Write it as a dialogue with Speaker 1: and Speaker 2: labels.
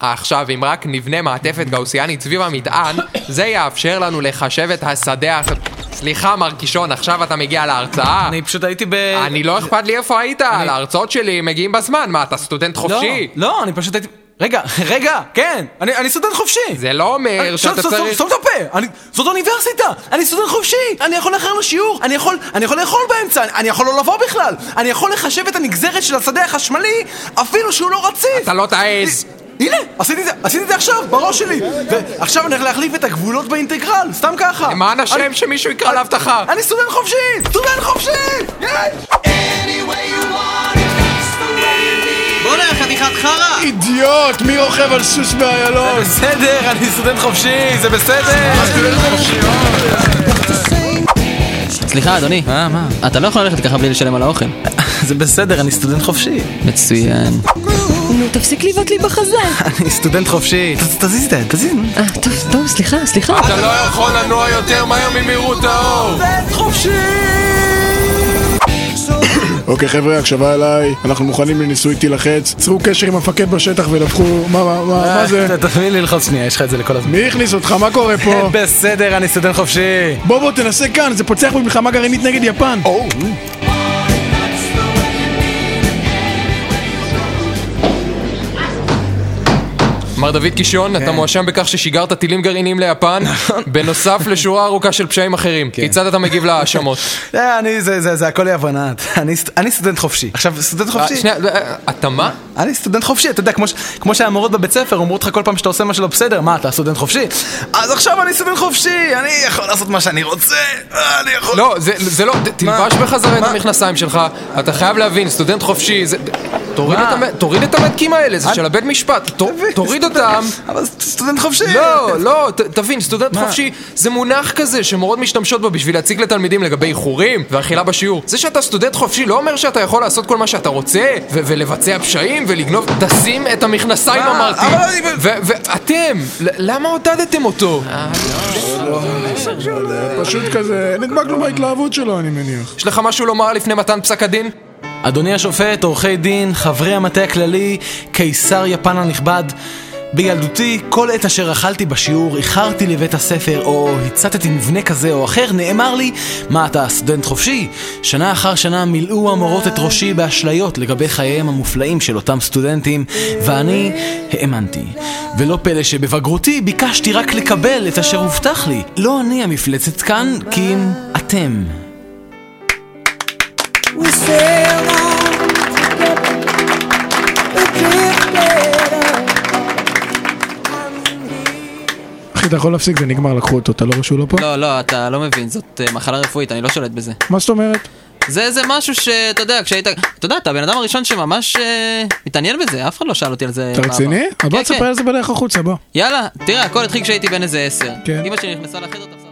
Speaker 1: עכשיו, אם רק נבנה מעטפת גאוסיאנית סביב המטען, זה יאפשר לנו לחשב את השדה הח... סליחה, מר קישון, עכשיו אתה מגיע להרצאה?
Speaker 2: אני פשוט הייתי ב...
Speaker 1: אני לא אכפת לי איפה היית, להרצאות שלי מגיעים בזמן, מה, אתה סטודנט חופשי?
Speaker 2: לא, לא, אני פשוט הייתי... רגע, רגע, כן, אני, אני סטודנט חופשי! אה,
Speaker 1: זה לא אומר
Speaker 2: אני- סתום,
Speaker 1: שאתה
Speaker 2: סתום,
Speaker 1: צריך...
Speaker 2: סתום את הפה! אני- זאת אוניברסיטה! אני סטודנט חופשי! אני יכול לאחר לשיעור! אני יכול אני יכול לאכול באמצע! אני- אני יכול לא לבוא בכלל! אני יכול לחשב את הנגזרת של השדה החשמלי אפילו שהוא לא רציף!
Speaker 1: אתה לא תעז!
Speaker 2: הנה, עשיתי את זה, עשיתי את זה עכשיו, בראש שלי! ועכשיו אני הולך להחליף את הגבולות באינטגרל, סתם ככה!
Speaker 1: למען השם
Speaker 2: אני-
Speaker 1: שמישהו יקרא לאבטחה!
Speaker 2: אני סטודנט חופשי! סטודנט חופשי!
Speaker 3: בואנה, חתיכת חרא!
Speaker 4: אידיוט, מי רוכב על סוס באיילון?
Speaker 2: בסדר, אני סטודנט חופשי, זה בסדר!
Speaker 5: סליחה, אדוני.
Speaker 2: אה, מה?
Speaker 5: אתה לא יכול ללכת ככה בלי לשלם על האוכל.
Speaker 2: זה בסדר, אני סטודנט חופשי.
Speaker 5: מצוין.
Speaker 6: נו, תפסיק לבעוט לי בחזה.
Speaker 2: אני סטודנט חופשי. ת- תזיז את היד, תזיז. נו.
Speaker 6: אה, טוב, טוב, סליחה, סליחה.
Speaker 1: אתה לא יכול לנוע יותר מהר ממהירות האור!
Speaker 4: אוקיי חבר'ה, הקשבה אליי, אנחנו מוכנים לניסוי תילחץ, צרו קשר עם המפקד בשטח ולקחו, מה, מה, מה, מה זה?
Speaker 2: אה, ת- תביא לי ללחוץ שנייה, יש לך את זה לכל הזמן.
Speaker 4: מי הכניס אותך, מה קורה פה?
Speaker 2: בסדר, אני סטודנט חופשי.
Speaker 4: בוא בוא תנסה כאן, זה פוצח במלחמה גרעינית נגד יפן.
Speaker 1: מר דוד קישון, אתה מואשם בכך ששיגרת טילים גרעיניים ליפן, בנוסף לשורה ארוכה של פשעים אחרים. כיצד אתה מגיב להאשמות?
Speaker 2: אה, אני, זה, זה, זה הכל יבנה. אני סט- אני סטודנט חופשי. עכשיו, סטודנט חופשי.
Speaker 1: שנייה, אה, אתה מה?
Speaker 2: אני סטודנט חופשי, אתה יודע, כמו, ש- כמו שהמורות בבית ספר אומרות לך כל פעם שאתה עושה מה שלא בסדר, מה, אתה סטודנט חופשי? אז עכשיו אני סטודנט חופשי, אני יכול לעשות מה שאני רוצה, אה, אני יכול...
Speaker 1: לא, זה- זה לא, ת- תלבש בחזרה את
Speaker 2: מה?
Speaker 1: המכנסיים שלך, אתה חייב להבין, סטודנט חופשי, זה... תוריד
Speaker 2: מה?
Speaker 1: את המ- תוריד את המדקים האלה, זה של הבית משפט, תור- תוריד אותם.
Speaker 2: אבל סטודנט חופשי.
Speaker 1: לא, לא, ת- תבין, סטודנט
Speaker 2: מה?
Speaker 1: חופשי זה מונח כזה שמורות משתמשות בו בשביל להציג לתלמידים לגבי איחורים ואכילה בשיעור. זה שאתה סטודנט חופשי לא אומר שאתה יכול לעשות כל מה שאתה רוצה ו- ולבצע פשעים ולגנוב... תשים את המכנסיים
Speaker 2: מה?
Speaker 1: אמרתי.
Speaker 2: אבל אני- אה.
Speaker 1: ואתם, למה עודדתם אותו?
Speaker 4: פשוט כזה, נדבקנו בהתלהבות שלו אני מניח.
Speaker 1: יש לך משהו לומר לפני מתן פסק הדין?
Speaker 2: אדוני השופט, עורכי דין, חברי המטה הכללי, קיסר יפן הנכבד, בילדותי, כל עת אשר אכלתי בשיעור, איחרתי לבית הספר, או הצטתי מבנה כזה או אחר, נאמר לי, מה אתה סטודנט חופשי? שנה אחר שנה מילאו המורות את ראשי באשליות לגבי חייהם המופלאים של אותם סטודנטים, ואני האמנתי. ולא פלא שבבגרותי ביקשתי רק לקבל את אשר הובטח לי. לא אני המפלצת כאן, כי אם אתם.
Speaker 4: אחי אתה יכול להפסיק זה נגמר לקחו אותו, אתה לא רואה שהוא לא פה?
Speaker 5: לא, לא, אתה לא מבין, זאת אה, מחלה רפואית, אני לא שולט בזה.
Speaker 4: מה זאת אומרת?
Speaker 5: זה איזה משהו שאתה יודע, כשהיית... אתה יודע, אתה הבן אדם הראשון שממש אה, מתעניין בזה, אף אחד לא שאל אותי על זה.
Speaker 4: אתה
Speaker 5: בעבר.
Speaker 4: רציני? אז
Speaker 5: כן,
Speaker 4: בוא
Speaker 5: כן.
Speaker 4: תספר על זה בדרך החוצה בוא.
Speaker 5: יאללה, תראה, הכל התחיל כשהייתי בן איזה עשר.
Speaker 4: כן.
Speaker 5: אמא שלי נכנסה לחדר, תפסה...